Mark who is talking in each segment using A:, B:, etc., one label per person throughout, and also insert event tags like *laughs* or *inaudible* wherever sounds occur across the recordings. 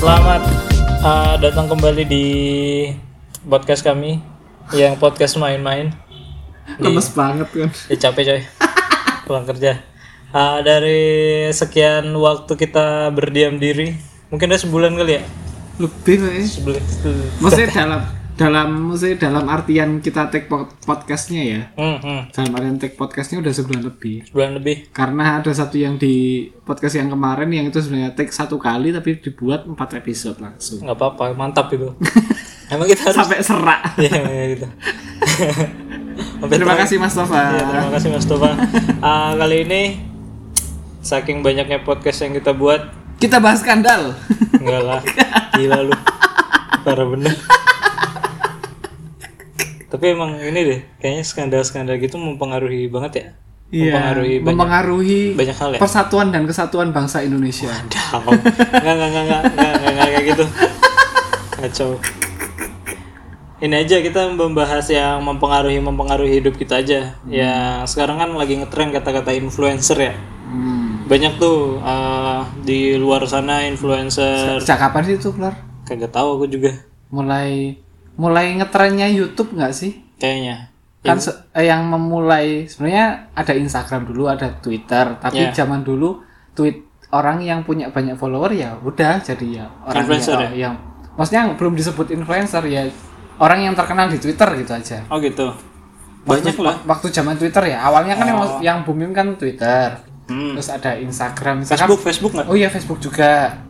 A: Selamat uh, datang kembali di podcast kami yang podcast main-main. Iya.
B: Lemes banget kan.
A: Ya capek
B: *laughs*
A: coy. Pulang kerja. Ah, dari sekian waktu kita berdiam diri, mungkin udah sebulan kali ya?
B: Lebih kayaknya.
A: Sebulan.
B: Maksudnya dalam dalam maksudnya dalam artian kita take pod- podcastnya ya.
A: Hmm, hmm.
B: Dalam artian take podcastnya udah sebulan lebih.
A: Sebulan lebih.
B: Karena ada satu yang di podcast yang kemarin yang itu sebenarnya take satu kali tapi dibuat empat episode langsung.
A: nggak apa-apa, mantap
B: *laughs*
A: itu. Emang kita harus
B: Sampai serak.
A: Iya, iya,
B: *laughs*
A: gitu. Sampai
B: Terima
A: terakhir.
B: kasih Mas
A: Ya,
B: Tova.
A: terima kasih Mas
B: *laughs*
A: Tova. Ah, kali ini saking banyaknya podcast yang kita buat,
B: Kita bahas skandal.
A: enggak lah. Gila lu. Parah bener. Tapi emang ini deh, kayaknya skandal-skandal gitu mempengaruhi banget ya.
B: Iya.
A: Mempengaruhi banyak,
B: Mempengaruhi
A: banyak hal ya.
B: persatuan dan kesatuan bangsa Indonesia.
A: Down. Enggak, enggak, enggak, enggak, enggak, enggak, enggak kayak gitu. Kacau. Ini aja kita membahas yang mempengaruhi mempengaruhi hidup kita aja. Ya sekarang kan lagi ngetren kata-kata influencer ya.
B: Hmm.
A: Banyak tuh eh, di luar sana influencer.
B: Sejak kapan sih itu keluar?
A: Kagak tahu aku juga
B: mulai mulai ngetrennya YouTube nggak sih?
A: kayaknya.
B: Kan se- eh, yang memulai sebenarnya ada Instagram dulu, ada Twitter, tapi
A: Iya.
B: zaman dulu tweet orang yang punya banyak follower ya udah jadi ya orang
A: Influencer
B: yang, yang- maksudnya yang belum disebut influencer ya orang yang terkenal di Twitter gitu aja.
A: Oh gitu. Banyak
B: Waktu-
A: lah.
B: Waktu zaman Twitter ya, awalnya kan yang, yang booming kan Twitter.
A: Oh. Hmm.
B: Terus ada Instagram, Instagram.
A: Facebook, Facebook nggak?
B: Oh iya Facebook juga.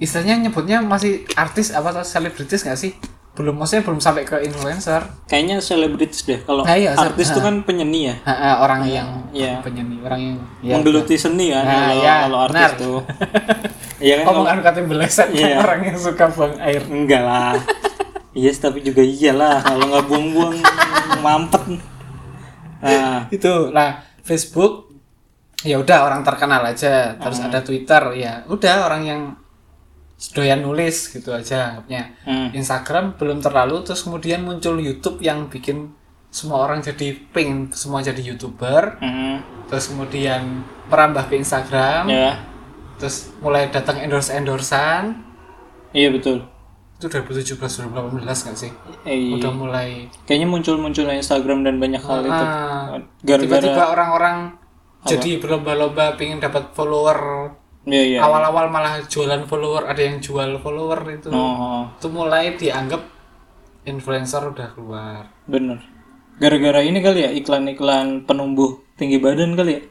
B: Istilahnya nyebutnya masih artis apa atau selebritis nggak sih? Belum maksudnya belum sampai ke influencer.
A: Kayaknya selebritis deh. Kalau
B: Nah, iya, se-
A: artis itu kan penyanyi ya,
B: Ha, ha, orang yang
A: Iya.
B: penyanyi, orang yang ya,
A: menggeluti seni ya.
B: Nah,
A: kalau
B: iya,
A: kalau artis
B: benar. *laughs*
A: tuh. Iya kan? kalau-
B: Omongan katanya beleset kan,
A: Iya.
B: *laughs* orang yang suka buang air.
A: Enggak
B: *laughs*
A: lah. Yes, tapi juga iyalah kalau nggak buang-buang mampet. Nah,
B: Itu. Nah, Facebook ya udah orang terkenal aja. Terus
A: Hmm.
B: ada Twitter ya udah orang yang doyan nulis gitu aja anggapnya.
A: hmm.
B: Instagram belum terlalu terus kemudian muncul YouTube yang bikin semua orang jadi pengen semua jadi youtuber
A: hmm,
B: terus kemudian merambah ke Instagram
A: ya.
B: terus mulai datang endorse endorsan
A: Iya betul.
B: itu 2017 2018 kan sih
A: Eh,
B: udah mulai
A: kayaknya muncul-munculnya Instagram dan banyak hal itu
B: ah,
A: gara-gara
B: tiba-tiba orang-orang jadi berlomba-lomba pengen dapat follower
A: Iya, iya.
B: awal-awal malah jualan follower ada yang jual follower itu
A: Oh,
B: itu mulai dianggap influencer udah keluar
A: bener. Gara-gara ini kali ya iklan-iklan penumbuh tinggi badan kali ya.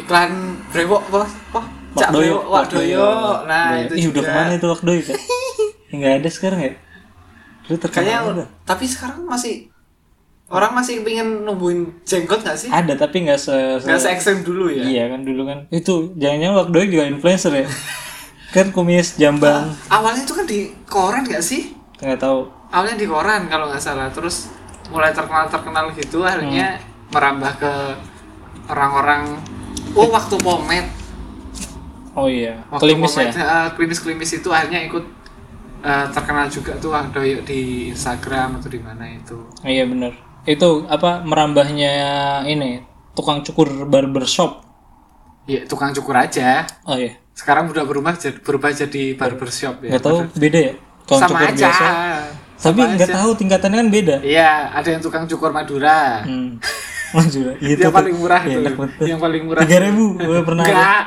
B: iklan brewok apa? Apa? Cak brewok Wak Doyok. Nah, itu
A: Ih, Iya, udah
B: juga.
A: kemana itu waktu
B: *laughs*
A: itu? Enggak ada sekarang ya. Lu
B: Kayaknya
A: terkenal udah.
B: tapi sekarang masih orang masih pengen numbuhin jenggot nggak sih?
A: Ada tapi nggak se, se-
B: Nggak se ekstrem dulu ya.
A: Iya kan dulu kan itu jangan-jangan Wak Doi juga influencer
B: *laughs*
A: ya kan kumis jambang
B: Awalnya itu kan di koran nggak sih?
A: nggak tahu
B: Awalnya di koran kalau nggak salah. Terus mulai terkenal-terkenal gitu akhirnya
A: Hmm.
B: merambah ke orang-orang Oh waktu pomet
A: oh iya
B: waktu
A: klimis ya
B: pomet, eh, klimis-klimis itu akhirnya ikut eh, terkenal juga tuh Wak Doyok di Instagram atau di mana itu
A: iya bener itu apa merambahnya ini tukang cukur barbershop
B: Ya, tukang cukur aja.
A: oh iya
B: Sekarang udah berubah jadi berubah jadi barbershop ya.
A: nggak tahu beda ya tukang
B: Sama
A: cukur
B: aja.
A: biasa tapi nggak tahu tingkatannya kan beda
B: Iya, ada yang tukang cukur Madura.
A: hmm. *laughs* Lanjut lah. itu
B: yang paling murah
A: ya,
B: itu.
A: enak banget.
B: Yang paling murah.
A: tiga ribu gue pernah
B: Enggak.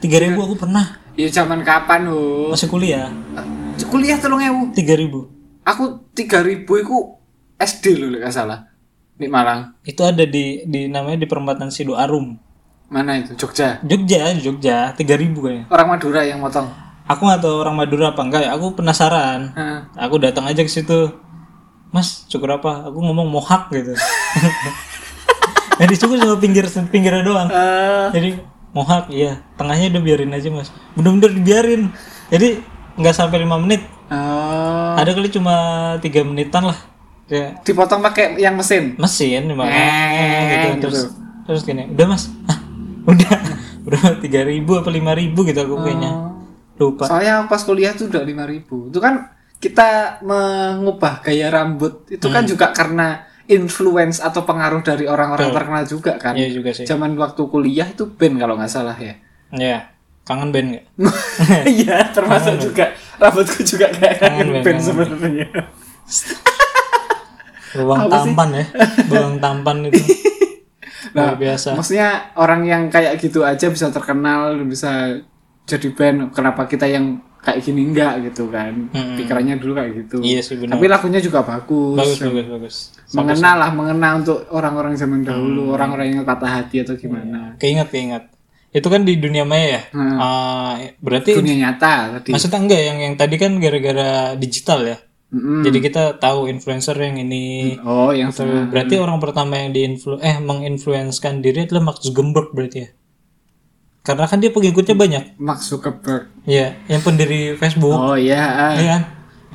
A: tiga ribu aku pernah
B: Ya zaman kapan, Hu?
A: masih kuliah
B: Kuliah tolong ewu.
A: tiga ribu
B: Aku 3000 iku SD lho lek nggak salah. Nik Malang.
A: itu ada di di namanya di perempatan Sidoarum
B: Mana itu? Jogja.
A: Jogja Jogja tiga ribu kayaknya
B: Orang Madura yang motong.
A: aku nggak tahu orang Madura apa enggak ya aku penasaran
B: Hah.
A: aku datang aja ke situ mas cukur apa aku ngomong mohak gitu *laughs* nah dicukur cuma pinggir pinggirnya doang
B: Eh,
A: jadi mohak iya tengahnya udah biarin aja mas bener-bener dibiarin jadi nggak sampai lima menit
B: eh,
A: ada kali cuma tiga menitan lah kayak
B: dipotong pakai yang mesin.
A: mesin di mana
B: Eh,
A: gitu.
B: gitu.
A: terus terus gini udah mas *laughs* Hah, udah *laughs* udah tiga ribu apa lima ribu gitu aku kayaknya
B: Oh.
A: lupa
B: Soalnya pas kuliah tuh udah 5000 Itu kan kita mengubah gaya rambut itu
A: Hmm.
B: kan juga karena influence atau pengaruh dari orang-orang terkenal juga kan.
A: iya juga sih
B: Zaman waktu kuliah itu
A: *laughs*
B: band kalau nggak salah ya.
A: Iya, kangen band nggak?
B: Iya termasuk juga rambutku juga kayak
A: Kangen,
B: Kangen
A: kangen.
B: band sebenarnya.
A: Bawang
B: Apa sih?
A: tampan
B: *laughs*
A: ya. Bawang tampan itu. Luar
B: Nah,
A: biasa.
B: maksudnya orang yang kayak gitu aja bisa terkenal, bisa jadi band. Kenapa kita yang kayak gini enggak gitu kan?
A: Mm-mm.
B: Pikirannya dulu kayak gitu.
A: Iya sih, benar.
B: Tapi lagunya juga bagus.
A: Bagus, bagus, bagus. Sampai
B: mengena lah, mengena untuk orang-orang zaman dahulu, orang-orang yang patah hati atau gimana.
A: Keinget, keinget. Itu kan di dunia maya ya.
B: Hmm.
A: Ah, berarti
B: Dunia nyata tadi.
A: maksudnya enggak yang yang tadi kan gara-gara digital ya.
B: Mm-mm.
A: Jadi kita tahu influencer yang ini.
B: Oh, yang
A: Tuh,
B: sama.
A: Berarti orang pertama yang diinflu eh menginfluenskan diri adalah Mark Zuckerberg berarti ya. Karena kan dia pengikutnya banyak.
B: Mark Zuckerberg.
A: Iya, yang pendiri Facebook.
B: Oh iya, ah.
A: Iya kan?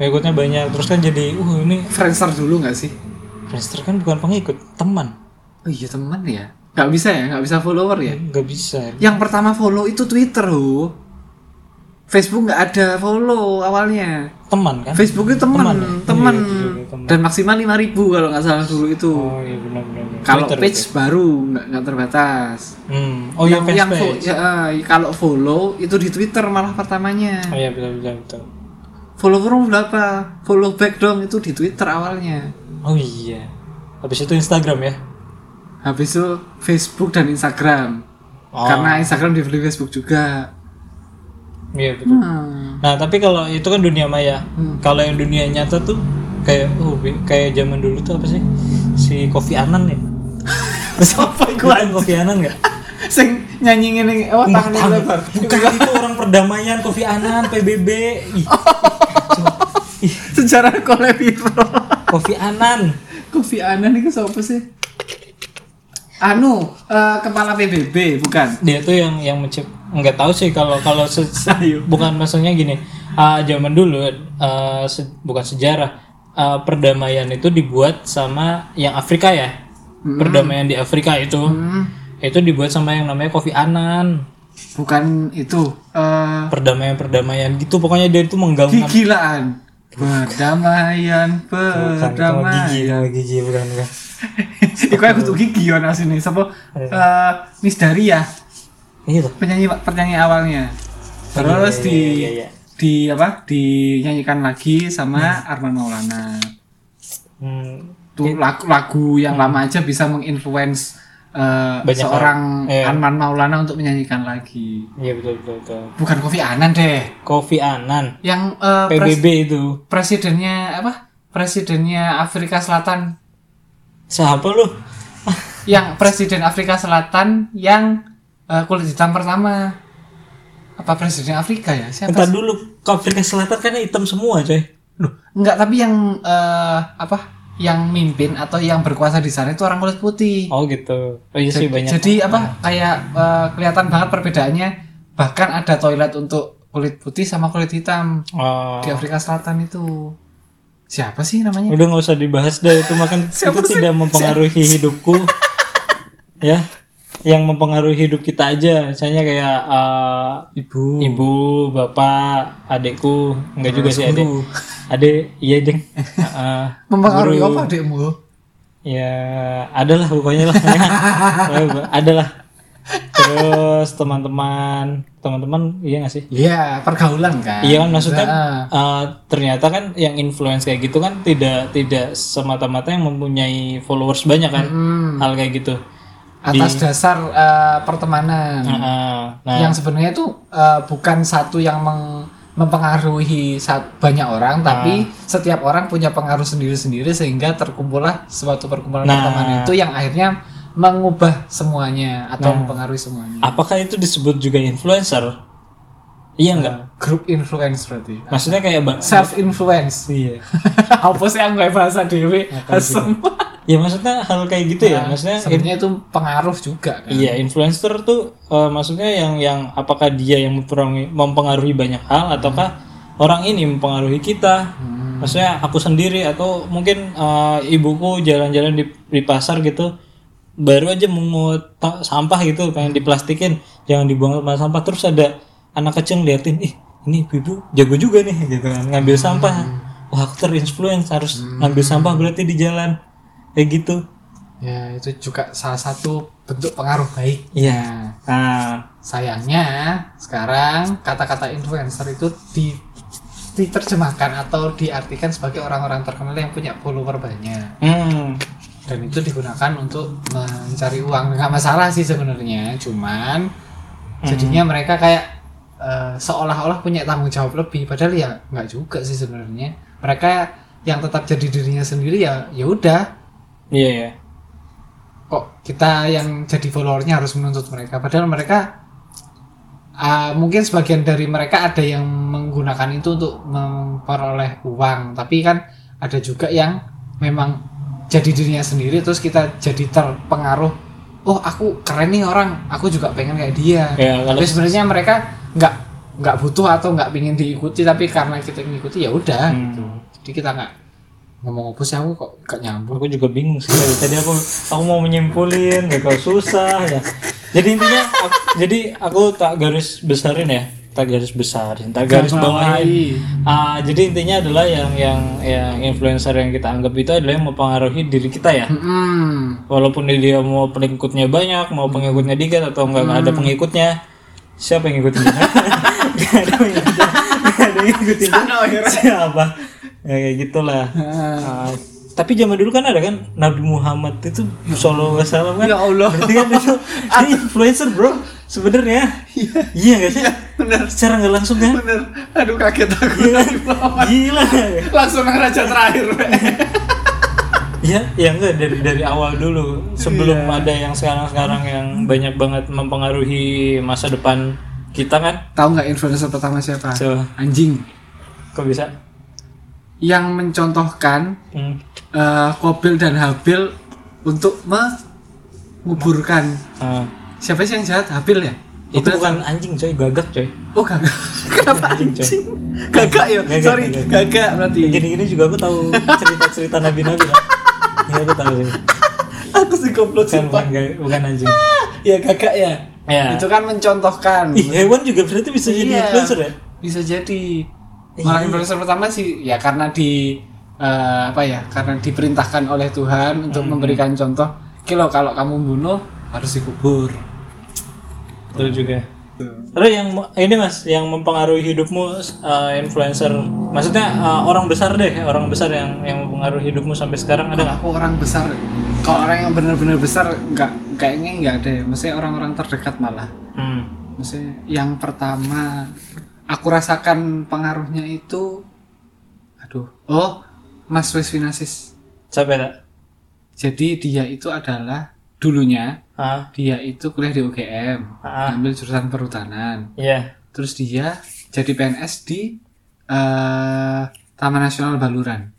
A: Pengikutnya banyak. Terus kan jadi uh ini
B: Friendster dulu nggak sih?
A: Friendster kan bukan pengikut, teman.
B: Oh iya teman ya. Nggak bisa ya, nggak bisa follower ya.
A: Nggak bisa.
B: Yang pertama follow itu Twitter, Hu. Facebook nggak ada follow awalnya.
A: Teman kan?
B: Facebook itu teman,
A: Teman
B: teman,
A: ya? Iya, iya, iya, teman.
B: dan maksimal 5000 kalau nggak salah dulu itu.
A: Oh iya benar benar. benar.
B: kalau
A: Twitter
B: page
A: itu.
B: baru nggak nggak terbatas.
A: Hmm. Oh iya page.
B: yang fo-
A: page.
B: ya, eh, kalau follow itu di Twitter malah pertamanya.
A: Oh iya betul betul betul.
B: Follower berapa? Follow back dong itu di Twitter awalnya.
A: Oh iya. Habis itu Instagram ya.
B: Habis itu Facebook dan Instagram.
A: Oh.
B: Karena Instagram dibeli Facebook juga.
A: Iya betul. Nah, tapi kalau itu kan dunia maya. Kalau yang dunia nyata tuh kayak oh bi- kayak zaman dulu tuh apa sih? Si Kofi Annan ya. Lu
B: Siapa
A: tahu Kofi Annan enggak?
B: Sing nyanyi ngene oh tangannya lebar.
A: Bukan itu orang perdamaian Kofi Annan PBB. Ih,
B: Sejarah collab itu.
A: Kofi Annan.
B: Kofi Annan itu siapa sih? Anu, eh, kepala PBB bukan.
A: Dia tuh yang yang mencip nggak tahu sih kalau kalau se- se-
B: Ayo.
A: bukan maksudnya gini. ah, zaman dulu ah, se- bukan sejarah ah, perdamaian itu dibuat sama yang Afrika ya. Perdamaian di Afrika itu.
B: Hmm.
A: Itu dibuat sama yang namanya Kofi Annan.
B: Bukan itu. Eh
A: perdamaian-perdamaian gitu pokoknya dia itu mengganggu kan,
B: Gigilaan. Perdamaian,
A: gigi
B: perdamaian.
A: sama gigi bukan bukan Iya.
B: Iku aku tuh gigi ya nasi ini. Siapa? Eh, Miss Daria,
A: gitu
B: penyanyi penyanyi awalnya. Terus di
A: iya, iya.
B: di apa? Dinyanyikan lagi sama
A: Nah.
B: Arman Maulana.
A: hmm,
B: Tuh lagu, lagu yang lama aja bisa menginfluence eh,
A: Banyak
B: seorang
A: orang. Iya.
B: Arman Maulana untuk menyanyikan lagi.
A: iya betul betul betul
B: Bukan Kofi Annan deh.
A: Kofi Annan
B: Yang eh, pres-
A: PBB itu
B: presidennya apa? Presidennya Afrika Selatan
A: siapa lu
B: yang presiden Afrika Selatan yang eh, kulit hitam pertama apa presiden Afrika ya siapa
A: bentar dulu ke Afrika Selatan kan hitam semua coy
B: Loh, enggak tapi yang eh, apa yang mimpin atau yang berkuasa di sana itu orang kulit putih
A: oh gitu oh iya sih banyak
B: jadi apa kayak eh, kelihatan banget perbedaannya bahkan ada toilet untuk kulit putih sama kulit hitam
A: oh.
B: di Afrika Selatan itu siapa sih namanya
A: udah nggak usah dibahas deh itu makan
B: *laughs* Siapa
A: itu
B: sih?
A: tidak mempengaruhi hidupku ya yang mempengaruhi hidup kita aja misalnya kayak eh,
B: ibu
A: ibu, bapak, adekku, enggak juga sih adek.
B: guru.
A: Adek, iya deng. Heeh.
B: mempengaruhi apa adikmu
A: ya, adalah pokoknya
B: *laughs*
A: lah. adalah. Terus teman-teman, teman-teman, iya nggak sih?
B: Iya, pergaulan kan.
A: Iya kan maksudnya
B: Nah,
A: eh, ternyata kan yang influence kayak gitu kan tidak tidak semata-mata yang mempunyai followers banyak kan
B: hmm.
A: hal kayak gitu.
B: atas dasar eh, pertemanan
A: Heeh. nah,
B: yang sebenarnya itu eh, bukan satu yang meng- mempengaruhi sa- banyak orang
A: Nah.
B: tapi setiap orang punya pengaruh sendiri-sendiri sehingga terkumpullah suatu perkumpulan
A: Nah.
B: pertemanan itu yang akhirnya mengubah semuanya atau
A: Nah.
B: mempengaruhi semuanya
A: apakah itu disebut juga influencer? Iya enggak?
B: group influence berarti
A: Maksudnya kayak ba-
B: self influence
A: Iya.
B: *laughs* apa sih yang gue bahasa dewe
A: Nah,
B: asem
A: Ya maksudnya hal kayak gitu ya, maksudnya
B: sebenarnya itu pengaruh juga kan
A: iya influencer tuh eh, maksudnya yang yang apakah dia yang mempengaruhi, mempengaruhi banyak hal ataukah orang ini mempengaruhi kita? Maksudnya aku sendiri atau mungkin eh, ibuku jalan-jalan di, di pasar gitu baru aja mengut sampah gitu pengen diplastikin jangan dibuang tempat sampah terus ada anak kecil liatin ih ini ibu jago juga nih gitu kan ngambil sampah wah aku terinfluence harus ngambil sampah berarti di jalan kayak gitu
B: ya itu juga salah satu bentuk pengaruh baik
A: iya nah
B: Sayangnya sekarang kata-kata influencer itu di diterjemahkan atau diartikan sebagai orang-orang terkenal yang punya follower banyak
A: Hmm.
B: dan itu digunakan untuk mencari uang nggak masalah sih sebenarnya cuman jadinya mereka kayak eh, seolah-olah punya tanggung jawab lebih padahal ya nggak juga sih sebenarnya mereka yang tetap jadi dirinya sendiri ya ya udah
A: Iya ya.
B: kok kita yang jadi followernya harus menuntut mereka padahal mereka ah, mungkin sebagian dari mereka ada yang menggunakan itu untuk memperoleh uang tapi kan ada juga yang memang jadi dirinya sendiri terus kita jadi terpengaruh oh aku keren nih orang aku juga pengen kayak dia
A: Ya kalau
B: tapi sebenarnya mereka nggak nggak butuh atau nggak pingin diikuti tapi karena kita ngikuti ya udah
A: Hmm.
B: gitu jadi kita nggak ngomong apa sih aku kok gak nyambung
A: aku juga bingung sih dari tadi aku aku mau menyimpulin ya kalau susah ya jadi intinya aku- jadi aku tak garis besarin ya tak garis besarin tak garis bawahin Ah, jadi intinya adalah yang yang yang influencer yang kita anggap itu adalah yang mempengaruhi diri kita ya
B: Mm-mm.
A: walaupun dia mau pengikutnya banyak mau pengikutnya dikit atau enggak ada pengikutnya siapa yang ngikutin dia Hmm. *laughs* Nggak ada yang ngikutin. Nggak ada yang ngikutin dia. siapa ya kayak gitulah Ah,
B: Ah.
A: tapi zaman dulu kan ada kan Nabi Muhammad itu Shallallahu Alaihi Wasallam kan
B: Ya Allah.
A: berarti kan itu dia influencer bro sebenarnya iya nggak sih
B: bener.
A: secara nggak langsung kan
B: Bener. Aduh kaget aku.
A: Iya kan? gila
B: Langsung raja terakhir.
A: ya ya enggak dari dari awal dulu sebelum
B: Iya.
A: ada yang sekarang sekarang yang banyak banget mempengaruhi masa depan kita kan
B: Tahu nggak influencer pertama siapa?
A: so
B: Anjing.
A: kok bisa
B: Yang mencontohkan
A: Hmm.
B: eh, Kobil dan Habil untuk menguburkan
A: Ah.
B: siapa sih yang jahat? Habil ya?
A: itu bukan anjing coy gagak coy
B: Oh gagak. *laughs* Kenapa
A: Anjing, coy.
B: anjing? Gagak ya.
A: Gagak,
B: Sorry,
A: gagak.
B: gagak berarti.
A: gini-gini juga aku tahu cerita-cerita nabi-nabi lah ya aku tahu sih
B: Aku sih
A: bukan
B: goblok
A: bukan,
B: sumpah.
A: ga- bukan anjing
B: Ya gagak ya.
A: ya
B: Itu kan mencontohkan.
A: Ih, hewan juga berarti bisa jadi
B: Iya.
A: influencer ya
B: bisa jadi
A: Iya.
B: malah influencer pertama sih ya karena di eh, apa ya karena diperintahkan oleh Tuhan
A: Hmm.
B: untuk memberikan contoh kilo kalau kamu bunuh harus dikubur
A: betul juga Terus yang ini mas, yang mempengaruhi hidupmu eh, influencer, maksudnya eh, orang besar deh, orang besar yang yang mempengaruhi hidupmu sampai sekarang ada nggak?
B: aku orang besar kalau orang yang benar-benar besar nggak kayaknya nggak ada ya maksudnya orang-orang terdekat malah
A: Hmm.
B: maksudnya yang pertama aku rasakan pengaruhnya itu aduh oh Mas Wiswinasis
A: Siapa ya?
B: jadi dia itu adalah dulunya
A: Ah,
B: dia itu kuliah di UGM
A: Ah.
B: ambil jurusan perhutanan
A: iya.
B: terus dia jadi PNS di eh, Taman Nasional Baluran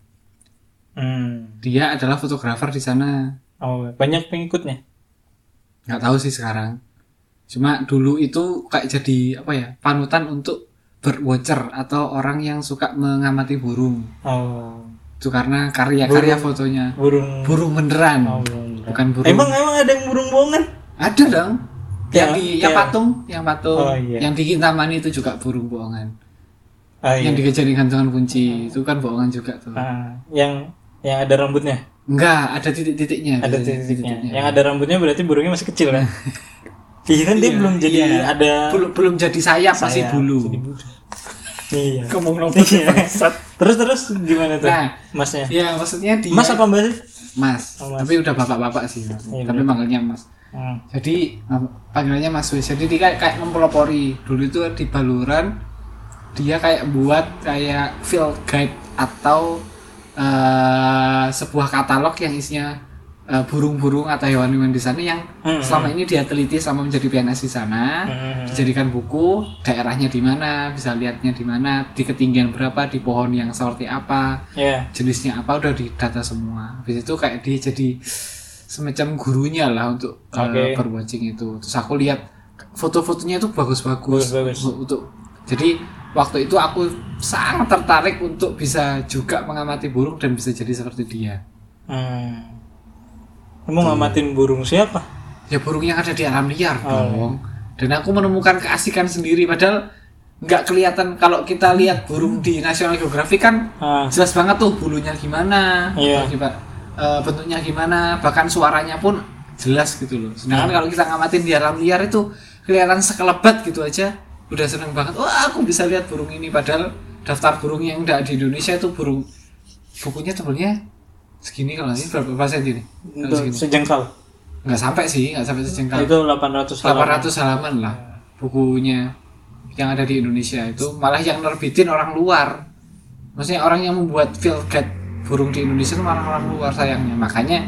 A: Hmm.
B: dia adalah fotografer di sana
A: Oh, banyak pengikutnya.
B: nggak tahu sih sekarang cuma dulu itu kayak jadi apa ya panutan untuk birdwatcher atau orang yang suka mengamati burung
A: Oh,
B: itu karena karya-karya
A: Burung.
B: fotonya
A: burung.
B: burung
A: Oh,
B: beneran
A: burung.
B: bukan burung
A: Emang emang ada yang burung bohongan?
B: ada dong yang
A: Ya,
B: di
A: ya.
B: yang patung yang patung
A: Oh, iya.
B: yang di Kintamani itu juga burung bohongan
A: Ah, iya.
B: yang dikejar gantungan kunci itu kan bohongan juga tuh
A: Ah, yang yang ada rambutnya,
B: enggak ada titik-titiknya
A: ada
B: biasanya
A: titiknya. Yang ada rambutnya berarti burungnya masih kecil
B: *laughs*
A: kan? Iya kan dia
B: Iya,
A: belum jadi
B: iya.
A: ada
B: belum belum jadi sayap masih
A: sayap,
B: bulu
A: jadi
B: *laughs*
A: bulu. Iya.
B: ngomong
A: *laughs* Iya. terus terus gimana tuh?
B: Nah.
A: Masnya.
B: ya maksudnya dia
A: Mas apa Mbak? sih?
B: Mas.
A: Oh, Mas.
B: tapi udah bapak-bapak sih Mas.
A: Iya,
B: tapi manggilnya mas
A: Hmm.
B: jadi um, panggilannya mas Wis jadi dia kayak, kayak mempelopori dulu itu di Baluran dia kayak buat kayak field guide atau eh, sebuah katalog yang isinya eh, burung-burung atau hewan-hewan di sana yang
A: Hmm.
B: selama ini dia teliti selama menjadi PNS di sana
A: Hmm.
B: dijadikan buku daerahnya di mana bisa lihatnya di mana di ketinggian berapa di pohon yang seperti apa
A: Ya.
B: jenisnya apa udah didata semua habis itu kayak dia jadi semacam gurunya lah untuk
A: Oke.
B: eh, birdwatching itu terus aku lihat foto-fotonya itu bagus-bagus
A: Bagus-bagus.
B: untuk- untuk jadi waktu itu aku sangat tertarik untuk bisa juga mengamati burung dan bisa jadi seperti dia
A: Hmm. Kamu ngamatin burung siapa?
B: ya burung yang ada di alam liar
A: Oh.
B: dong dan aku menemukan keasikan sendiri padahal nggak kelihatan kalau kita lihat burung di National Geographic kan
A: Ah,
B: jelas banget tuh bulunya gimana,
A: Iya.
B: atau gimana, eh, bentuknya gimana, bahkan suaranya pun jelas gitu loh. Sedangkan kalau kita ngamatin di alam liar itu kelihatan sekelebat gitu aja, udah seneng banget. Wah aku bisa lihat burung ini padahal daftar burung yang enggak di Indonesia itu burung bukunya tebelnya segini kalau ini berapa persen ini kalau
A: Untuk
B: Kan segini
A: sejengkal.
B: nggak sampai sih nggak sampai sejengkal
A: Nah, Itu 800 halaman.
B: 800 halaman lah bukunya yang ada di Indonesia itu malah yang nerbitin orang luar maksudnya orang yang membuat field guide burung di Indonesia itu malah orang luar sayangnya makanya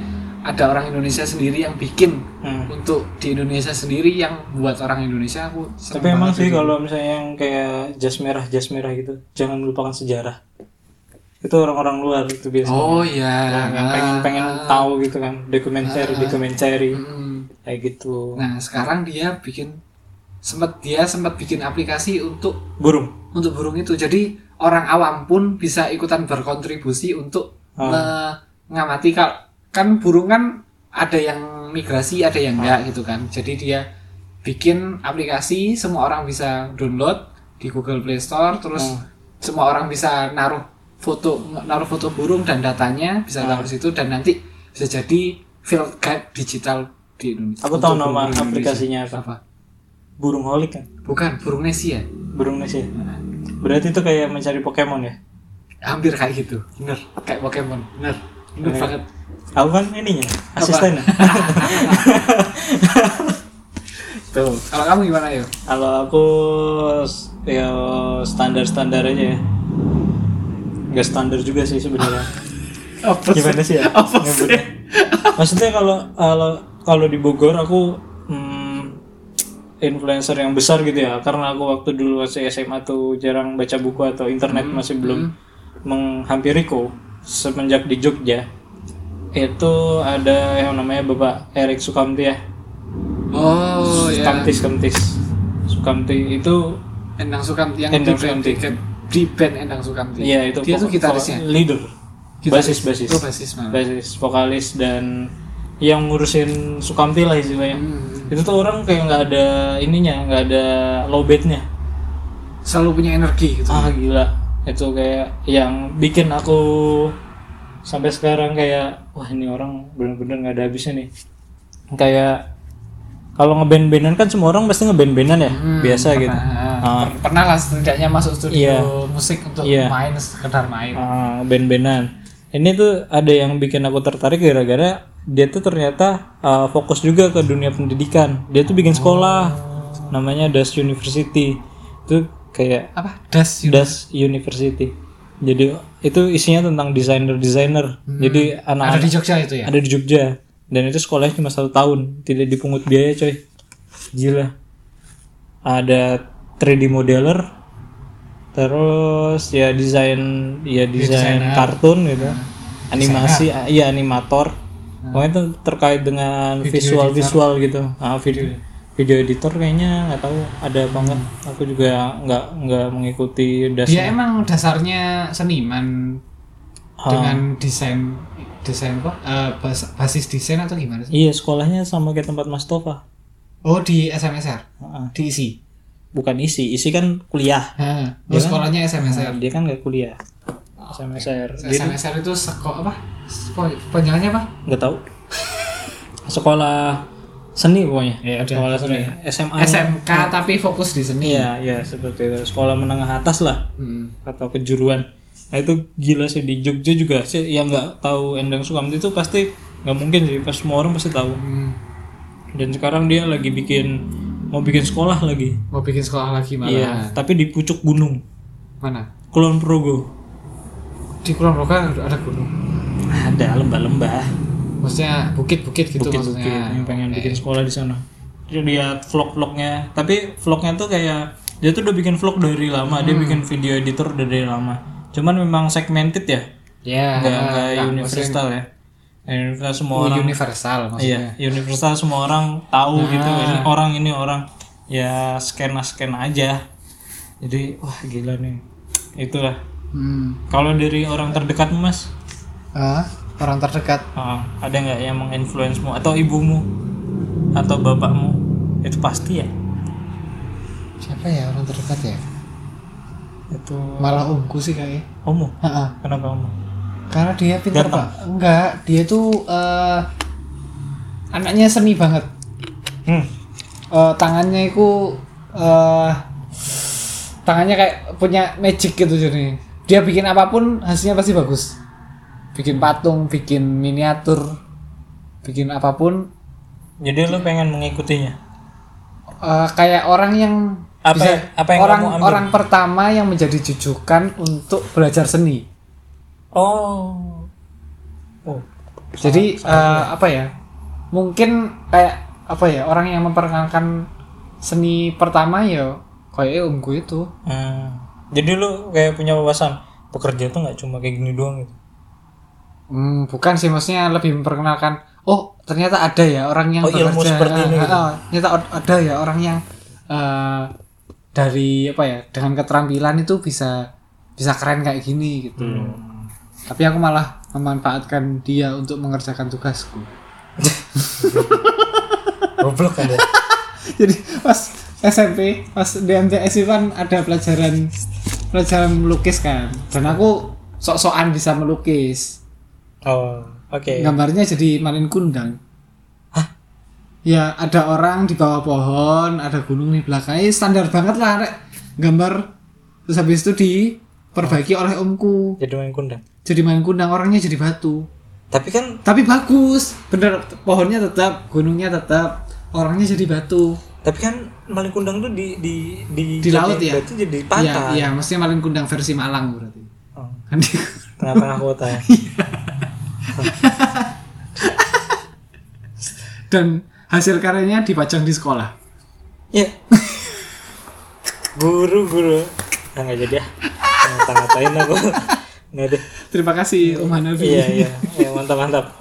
B: ada orang Indonesia sendiri yang bikin
A: Hmm.
B: untuk di Indonesia sendiri yang buat orang Indonesia aku seneng
A: Tapi emang
B: banget
A: sih
B: itu.
A: kalau misalnya yang kayak jas merah, jas merah gitu, jangan melupakan sejarah. Itu orang-orang luar itu biasanya.
B: oh ya
A: yang Iya, pengen pengen tahu gitu kan, dokumenter, dokumenter
B: Mm.
A: kayak gitu.
B: nah sekarang dia bikin sempat dia sempat bikin aplikasi untuk
A: Burung.
B: untuk burung itu. Jadi orang awam pun bisa ikutan berkontribusi untuk
A: Ah.
B: mengamati kalau kan burung kan ada yang migrasi, ada yang enggak gitu kan. Jadi dia bikin aplikasi semua orang bisa download di Google Play Store terus
A: Hmm.
B: semua orang bisa naruh foto naruh foto burung dan datanya bisa
A: Ah.
B: taruh di situ dan nanti bisa jadi field guide digital di Indonesia.
A: Aku
B: untuk
A: tahu nama
B: burung-burung Indonesia.
A: aplikasinya apa.
B: apa?
A: Burung holik kan,
B: Bukan burung ya? Nesia.
A: burung sih. Berarti itu kayak mencari Pokemon ya.
B: hampir kayak gitu bener kayak Pokemon bener bener
A: Bener.
B: banget
A: Aku kan ininya, ya?
B: *laughs*
A: asistennya.
B: tuh kalau kamu gimana yo
A: Kalau aku s- ya standar-standar aja ya. Gak standar juga sih sebenarnya.
B: apa
A: Gimana sih ya?
B: apa sih
A: Nyebutnya. Maksudnya kalau kalau kalau di Bogor aku hmm, influencer yang besar gitu ya. Karena aku waktu dulu masih SMA tuh jarang baca buku atau internet
B: Hmm,
A: masih belum menghampiriku semenjak di Jogja. Itu ada yang namanya Bapak Erik Sukamti ya.
B: oh ya
A: Kamtis Kamtis. Sukamti itu
B: Endang Sukamti yang
A: Endang
B: di band
A: Sukamti.
B: di, di band Endang Sukamti
A: Iya itu
B: dia tuh
A: pokok-
B: gitarisnya
A: pokok- leader, basis
B: Gitaris.
A: basis,
B: oh basis malah
A: basis vokalis dan yang ngurusin Sukamti lah istilahnya.
B: Hmm.
A: Itu tuh orang kayak nggak ada ininya, nggak ada lowbatnya.
B: selalu punya energi gitu
A: Ah gila, itu kayak yang bikin aku sampai sekarang kayak wah ini orang bener-bener nggak ada habisnya nih. Kayak kalau ngeband-bandan kan semua orang pasti ngeband-bandan ya,
B: Hmm,
A: biasa
B: pernah. *laughs*
A: gitu. Ah.
B: Per- pernah lah setidaknya masuk studio
A: Iya.
B: musik untuk
A: Iya.
B: main sekedar main
A: Ah, band-bandan. Ini tuh ada yang bikin aku tertarik gara-gara dia tuh ternyata ah, fokus juga ke dunia pendidikan. Dia tuh bikin sekolah, namanya Das University. Itu kayak
B: apa das Yun-
A: Das University. Jadi itu isinya tentang desainer-desainer. Jadi
B: ada
A: anak-anak
B: di Jogja itu ya
A: ada di Jogja dan itu sekolahnya cuma satu tahun, tidak dipungut biaya coy. Gila. Ada 3D modeler, terus ya desain ya desain
B: desainer.
A: kartun gitu, animasi ah, iya animator. Pokoknya itu terkait dengan visual visual gitu. Ah, video video editor kayaknya nggak tahu ada banget. Aku juga nggak nggak mengikuti das ya.
B: dia emang dasarnya seniman
A: Ah,
B: dengan desain desain apa Eh, bas- basis desain atau gimana sih
A: Iya sekolahnya sama kayak tempat Mas Tova.
B: oh di SMSR
A: Ah, ah.
B: diisi
A: Bukan isi, isi kan kuliah.
B: Heeh. oh, sekolahnya SMSR
A: Dia kan nggak kuliah sama SR. Dia
B: SMSR itu seko apa Seko- penjalannya apa
A: nggak tahu. Sekolah seni pokoknya.
B: Ya, udah.
A: Sekolah seni. SMA.
B: Eh, SMK tapi fokus di seni
A: Hmm. Iya, iya seperti itu. Sekolah menengah atas lah
B: Hmm.
A: atau kejuruan. Nah itu gila sih di Jogja juga sih yang nggak tahu Endang Sukamti itu pasti nggak mungkin sih. Pas semua orang pasti tahu.
B: Hmm.
A: Dan sekarang dia lagi bikin mau bikin sekolah lagi.
B: mau bikin sekolah lagi malah
A: Iya, tapi di pucuk gunung,
B: mana
A: Kulon Progo.
B: di Kulon Progo kan ada gunung
A: Ada lembah-lembah.
B: maksudnya bukit-bukit gitu
A: bukit bukit
B: maksudnya
A: yang pengen bikin sekolah di sana jadi lihat vlog vlognya tapi vlognya tuh kayak dia tuh udah bikin vlog dari lama
B: Hmm.
A: dia bikin video editor udah dari lama cuman memang segmented ya
B: ya
A: nggak nggak
B: nggak,
A: universal ya universal semua
B: maksudnya
A: orang
B: universal maksudnya Ah.
A: iya universal semua orang tahu gitu ini orang ini orang ya skena skena aja jadi wah gila nih itulah
B: Hmm.
A: kalau dari orang terdekat mas
B: Ah, orang terdekat
A: Ah, ada nggak yang menginfluensmu atau ibumu atau bapakmu itu pasti ya
B: siapa ya orang terdekat ya
A: itu
B: malah omku sih kayaknya
A: homo
B: Ha-ha.
A: kenapa homo
B: karena dia pintar
A: Ganteng.
B: pak enggak dia tuh eh, anaknya seni banget
A: hmm.
B: Eh, tangannya itu eh, tangannya kayak punya magic gitu jadi dia bikin apapun hasilnya pasti bagus bikin patung bikin miniatur bikin apapun
A: Jadi lu pengen mengikutinya.
B: eh, kayak orang yang
A: Apa- ya? apa yang
B: orang
A: kamu ambil?
B: orang pertama yang menjadi jujukan untuk belajar seni
A: Oh. Oh.
B: Jadi eh, apa ya? Mungkin kayak apa ya orang yang memperkenalkan seni pertama ya kayak omku itu.
A: Hmm. Jadi lu kayak punya wawasan pekerja tuh nggak cuma kayak gini doang gitu.
B: Hmm, bukan sih maksudnya lebih memperkenalkan. Oh ternyata ada ya orang yang
A: Oh, ilmu seperti ini
B: Ah,
A: gitu.
B: ah, ternyata od- ada ya orang yang eh, dari apa ya dengan keterampilan itu bisa bisa keren kayak gini gitu.
A: Hmm.
B: Tapi aku malah memanfaatkan dia untuk mengerjakan tugasku.
A: *laughs* Goblok kan ya.
B: *laughs* jadi pas SMP pas di MTS itu kan ada pelajaran pelajaran melukis kan dan aku sok-sokan bisa melukis
A: Oh, oke.
B: gambarnya jadi malin kundang ya ada orang di bawah pohon ada gunung di belakang Eh, standar banget lah rek gambar terus habis itu diperbaiki oleh omku
A: Jadi main kundang.
B: jadi malin kundang orangnya jadi batu
A: Tapi kan
B: tapi bagus bener pohonnya tetap gunungnya tetap orangnya jadi batu
A: tapi kan maling kundang tuh di di di,
B: Di laut ya?
A: Itu jadi pantai.
B: Iya, iya, maksudnya Malin Kundang versi Malang berarti.
A: Oh,
B: Kan di- *laughs*
A: tengah-tengah kota ya.
B: Dan hasil karyanya dipajang di sekolah.
A: *laughs* Iya. guru guru. Nah, nggak jadi ya. Ngata-ngatain aku. Nggak deh.
B: Terima kasih Om Hanafi.
A: Iya iya. Ya, mantap mantap.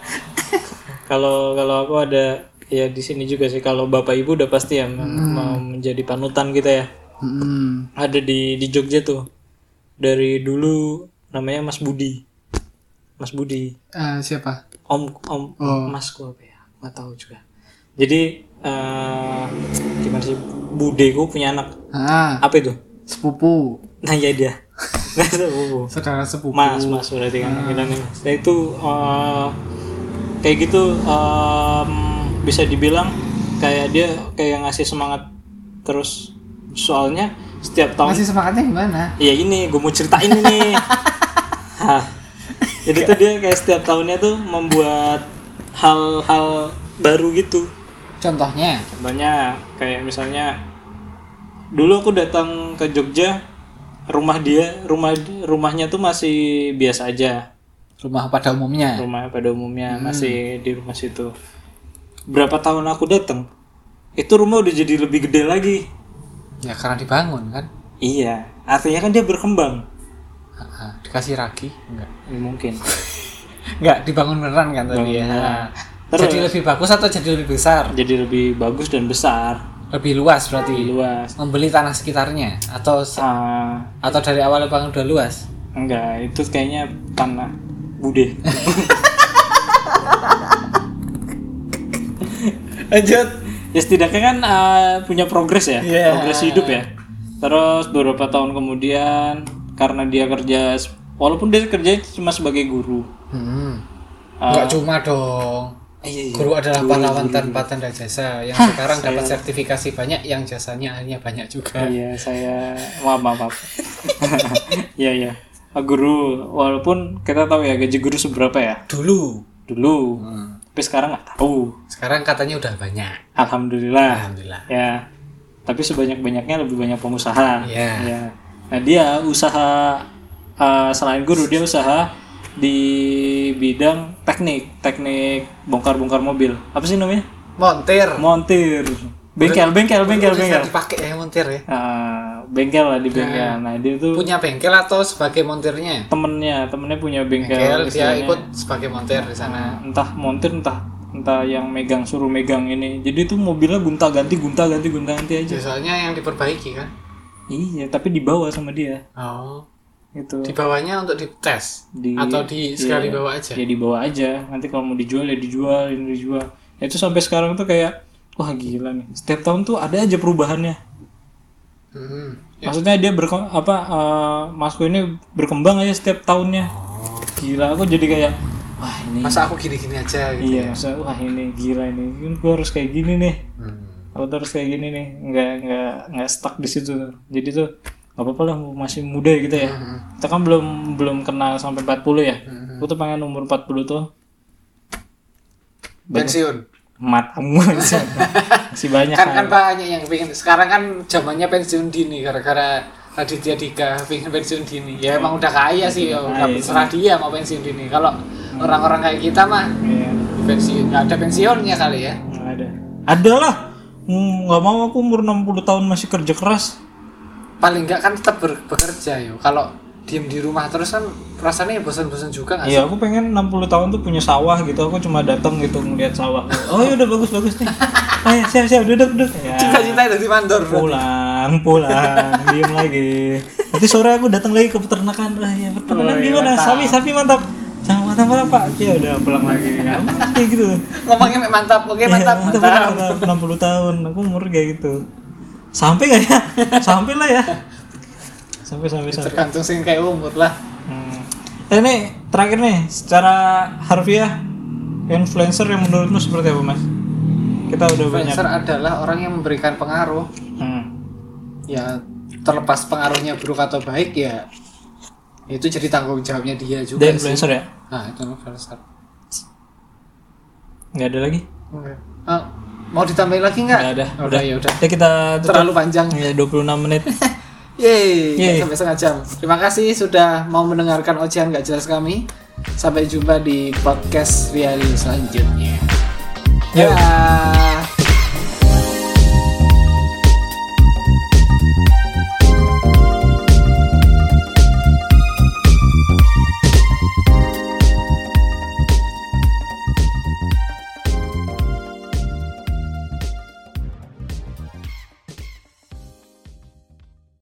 A: Kalau kalau aku ada ya di sini juga sih kalau bapak ibu udah pasti ya mau menjadi panutan kita ya.
B: Mm-mm.
A: Ada di di Jogja tuh. Dari dulu namanya Mas Budi. Mas Budi.
B: Eh, siapa?
A: om om
B: Oh.
A: masku apa ya nggak tahu juga jadi eh gimana sih budeku punya anak
B: Ah,
A: apa itu
B: sepupu.
A: nah ya dia nggak tahu
B: Sekarang
A: *laughs*
B: sepupu.
A: mas mas berarti kan bilangnya mas Nah, itu eh, kayak gitu em, bisa dibilang kayak dia kayak ngasih semangat terus soalnya setiap tahun
B: Masih semangatnya gimana?
A: Iya ini, gue mau ceritain *laughs* ini. Hah. Jadi tuh dia kayak setiap tahunnya tuh membuat hal-hal baru gitu.
B: Contohnya?
A: Banyak kayak misalnya dulu aku datang ke Jogja, rumah dia, rumah rumahnya tuh masih biasa aja.
B: Rumah pada umumnya.
A: Rumah pada umumnya masih di rumah situ. Berapa tahun aku datang, itu rumah udah jadi lebih gede lagi.
B: Ya karena dibangun kan.
A: Iya, artinya kan dia berkembang.
B: Ah, ah. dikasih ragi? Enggak.
A: Mungkin.
B: Enggak, dibangun beneran kan tadi ya. Ah.
A: Terus?
B: Jadi lebih bagus atau jadi lebih besar?
A: jadi lebih bagus dan besar
B: Lebih luas berarti.
A: luas
B: Membeli tanah sekitarnya atau se-
A: ah
B: atau dari awal bangun udah luas?
A: enggak itu kayaknya tanah bude
B: Lanjut.
A: ya setidaknya kan ah, punya progres ya
B: Iya.
A: progres hidup ya terus beberapa tahun kemudian karena dia kerja walaupun dia kerja cuma sebagai guru
B: Hmm. Nggak cuma dong.
A: Ah. iya
B: Guru adalah pahlawan tanpa tanda jasa. Yang sekarang dapat sertifikasi banyak, yang jasanya akhirnya banyak juga.
A: Iya, saya maaf maaf. *laughs* maaf. Iya iya. Ah, Guru, walaupun kita tahu ya gaji guru seberapa ya
B: Dulu.
A: dulu, tapi sekarang nggak tahu.
B: Sekarang katanya udah banyak.
A: Alhamdulillah.
B: Alhamdulillah.
A: ya tapi sebanyak banyaknya lebih banyak pengusaha
B: Iya.
A: ya nah dia usaha eh, selain guru dia usaha di bidang teknik teknik bongkar bongkar mobil apa sih namanya
B: Montir.
A: montir bengkel bengkel bengkel bengkel
B: Bisa dipakai ya montir ya.
A: Ah, bengkel lah di bengkel nah dia tuh
B: Punya bengkel atau sebagai montirnya?
A: temennya temennya punya bengkel,
B: Bengkel dia
A: istilahnya.
B: ikut sebagai montir di sana.
A: entah montir entah entah yang megang suruh megang ini jadi tuh mobilnya gunta ganti gunta ganti gunta ganti aja
B: Biasanya yang diperbaiki kan?
A: iya tapi dibawa sama dia
B: Oh.
A: gitu
B: Di bawahnya untuk dites
A: Di-
B: atau di sekali
A: iya.
B: bawa aja.
A: ya dibawa aja nanti kalau mau dijual ya dijual ini dijual Ya, itu sampai sekarang tuh kayak wah gila nih setiap tahun tuh ada aja perubahannya
B: Hmm.
A: maksudnya dia berko apa eh, Masku ini berkembang aja setiap tahunnya gila aku jadi kayak wah ini
B: Masa aku gini-gini aja gitu.
A: iya masa wah ini gila ini Ini gua harus kayak gini nih
B: Hmm.
A: aku tuh harus kayak gini nih nggak nggak nggak stuck di situ jadi tuh nggak apa-apa lah masih muda gitu ya kita kan belum belum kenal sampai 40 ya
B: Hmm.
A: aku tuh pengen umur 40 tuh
B: pensiun *laughs*
A: matamu aja masih banyak
B: kan kan banyak yang pengen sekarang kan zamannya pensiun dini gara-gara Raditya Dika pengen pensiun dini ya emang udah kaya sih
A: Iya.
B: ya udah
A: Kaya.
B: serah dia mau pensiun dini kalau
A: Hmm.
B: orang-orang kayak kita mah
A: Iya,
B: pensiun nggak ada pensiunnya kali ya
A: nggak ada ada lah Hmm, nggak mau aku umur 60 tahun masih kerja keras
B: paling nggak kan tetap ber- bekerja yo kalau diem di rumah terus kan rasanya bosan-bosan juga nggak sih?
A: Iya, aku pengen 60 tahun tuh punya sawah gitu. Aku cuma datang gitu ngeliat sawah. Oh, ya udah bagus bagus nih. Ayo, siap siap duduk duduk. Ya,
B: cita-cita dari mandor
A: pulang pulang diem lagi. Nanti sore aku datang lagi ke peternakan. Ah, ya, peternakan
B: Oh, iya,
A: gimana?
B: mantap.
A: Sapi sapi mantap. Jangan mantap mantap pak. Ya udah pulang lagi. Ya, kayak gitu.
B: ngomongnya mek mantap oke
A: Iya,
B: mantap
A: mantap,
B: mantap
A: mantap. 60 tahun. Aku umur kayak gitu. Sampai gak ya? *laughs* Sampai lah ya. Sampai sampai sampai.
B: tergantung sih kayak umur lah
A: Hmm. Eh nih, terakhir nih, secara harfiah influencer yang menurutmu seperti apa mas? Kita udah banyak.
B: influencer adalah orang yang memberikan pengaruh
A: Hmm.
B: ya terlepas pengaruhnya buruk atau baik ya itu jadi tanggung jawabnya dia juga
A: Dia
B: sih.
A: influencer ya?
B: nah itu influencer
A: Nggak ada lagi?
B: Oke. Ah, mau ditambahin lagi nggak
A: Nggak ada.
B: udah, ya udah
A: Ya kita tutup.
B: terlalu panjang
A: Ya 26 menit.
B: Yeay,
A: Yeay.
B: sampai setengah jam. Terima kasih sudah mau mendengarkan ocehan gak jelas kami. Sampai jumpa di podcast Riali selanjutnya.
A: Yo.
B: Dadah.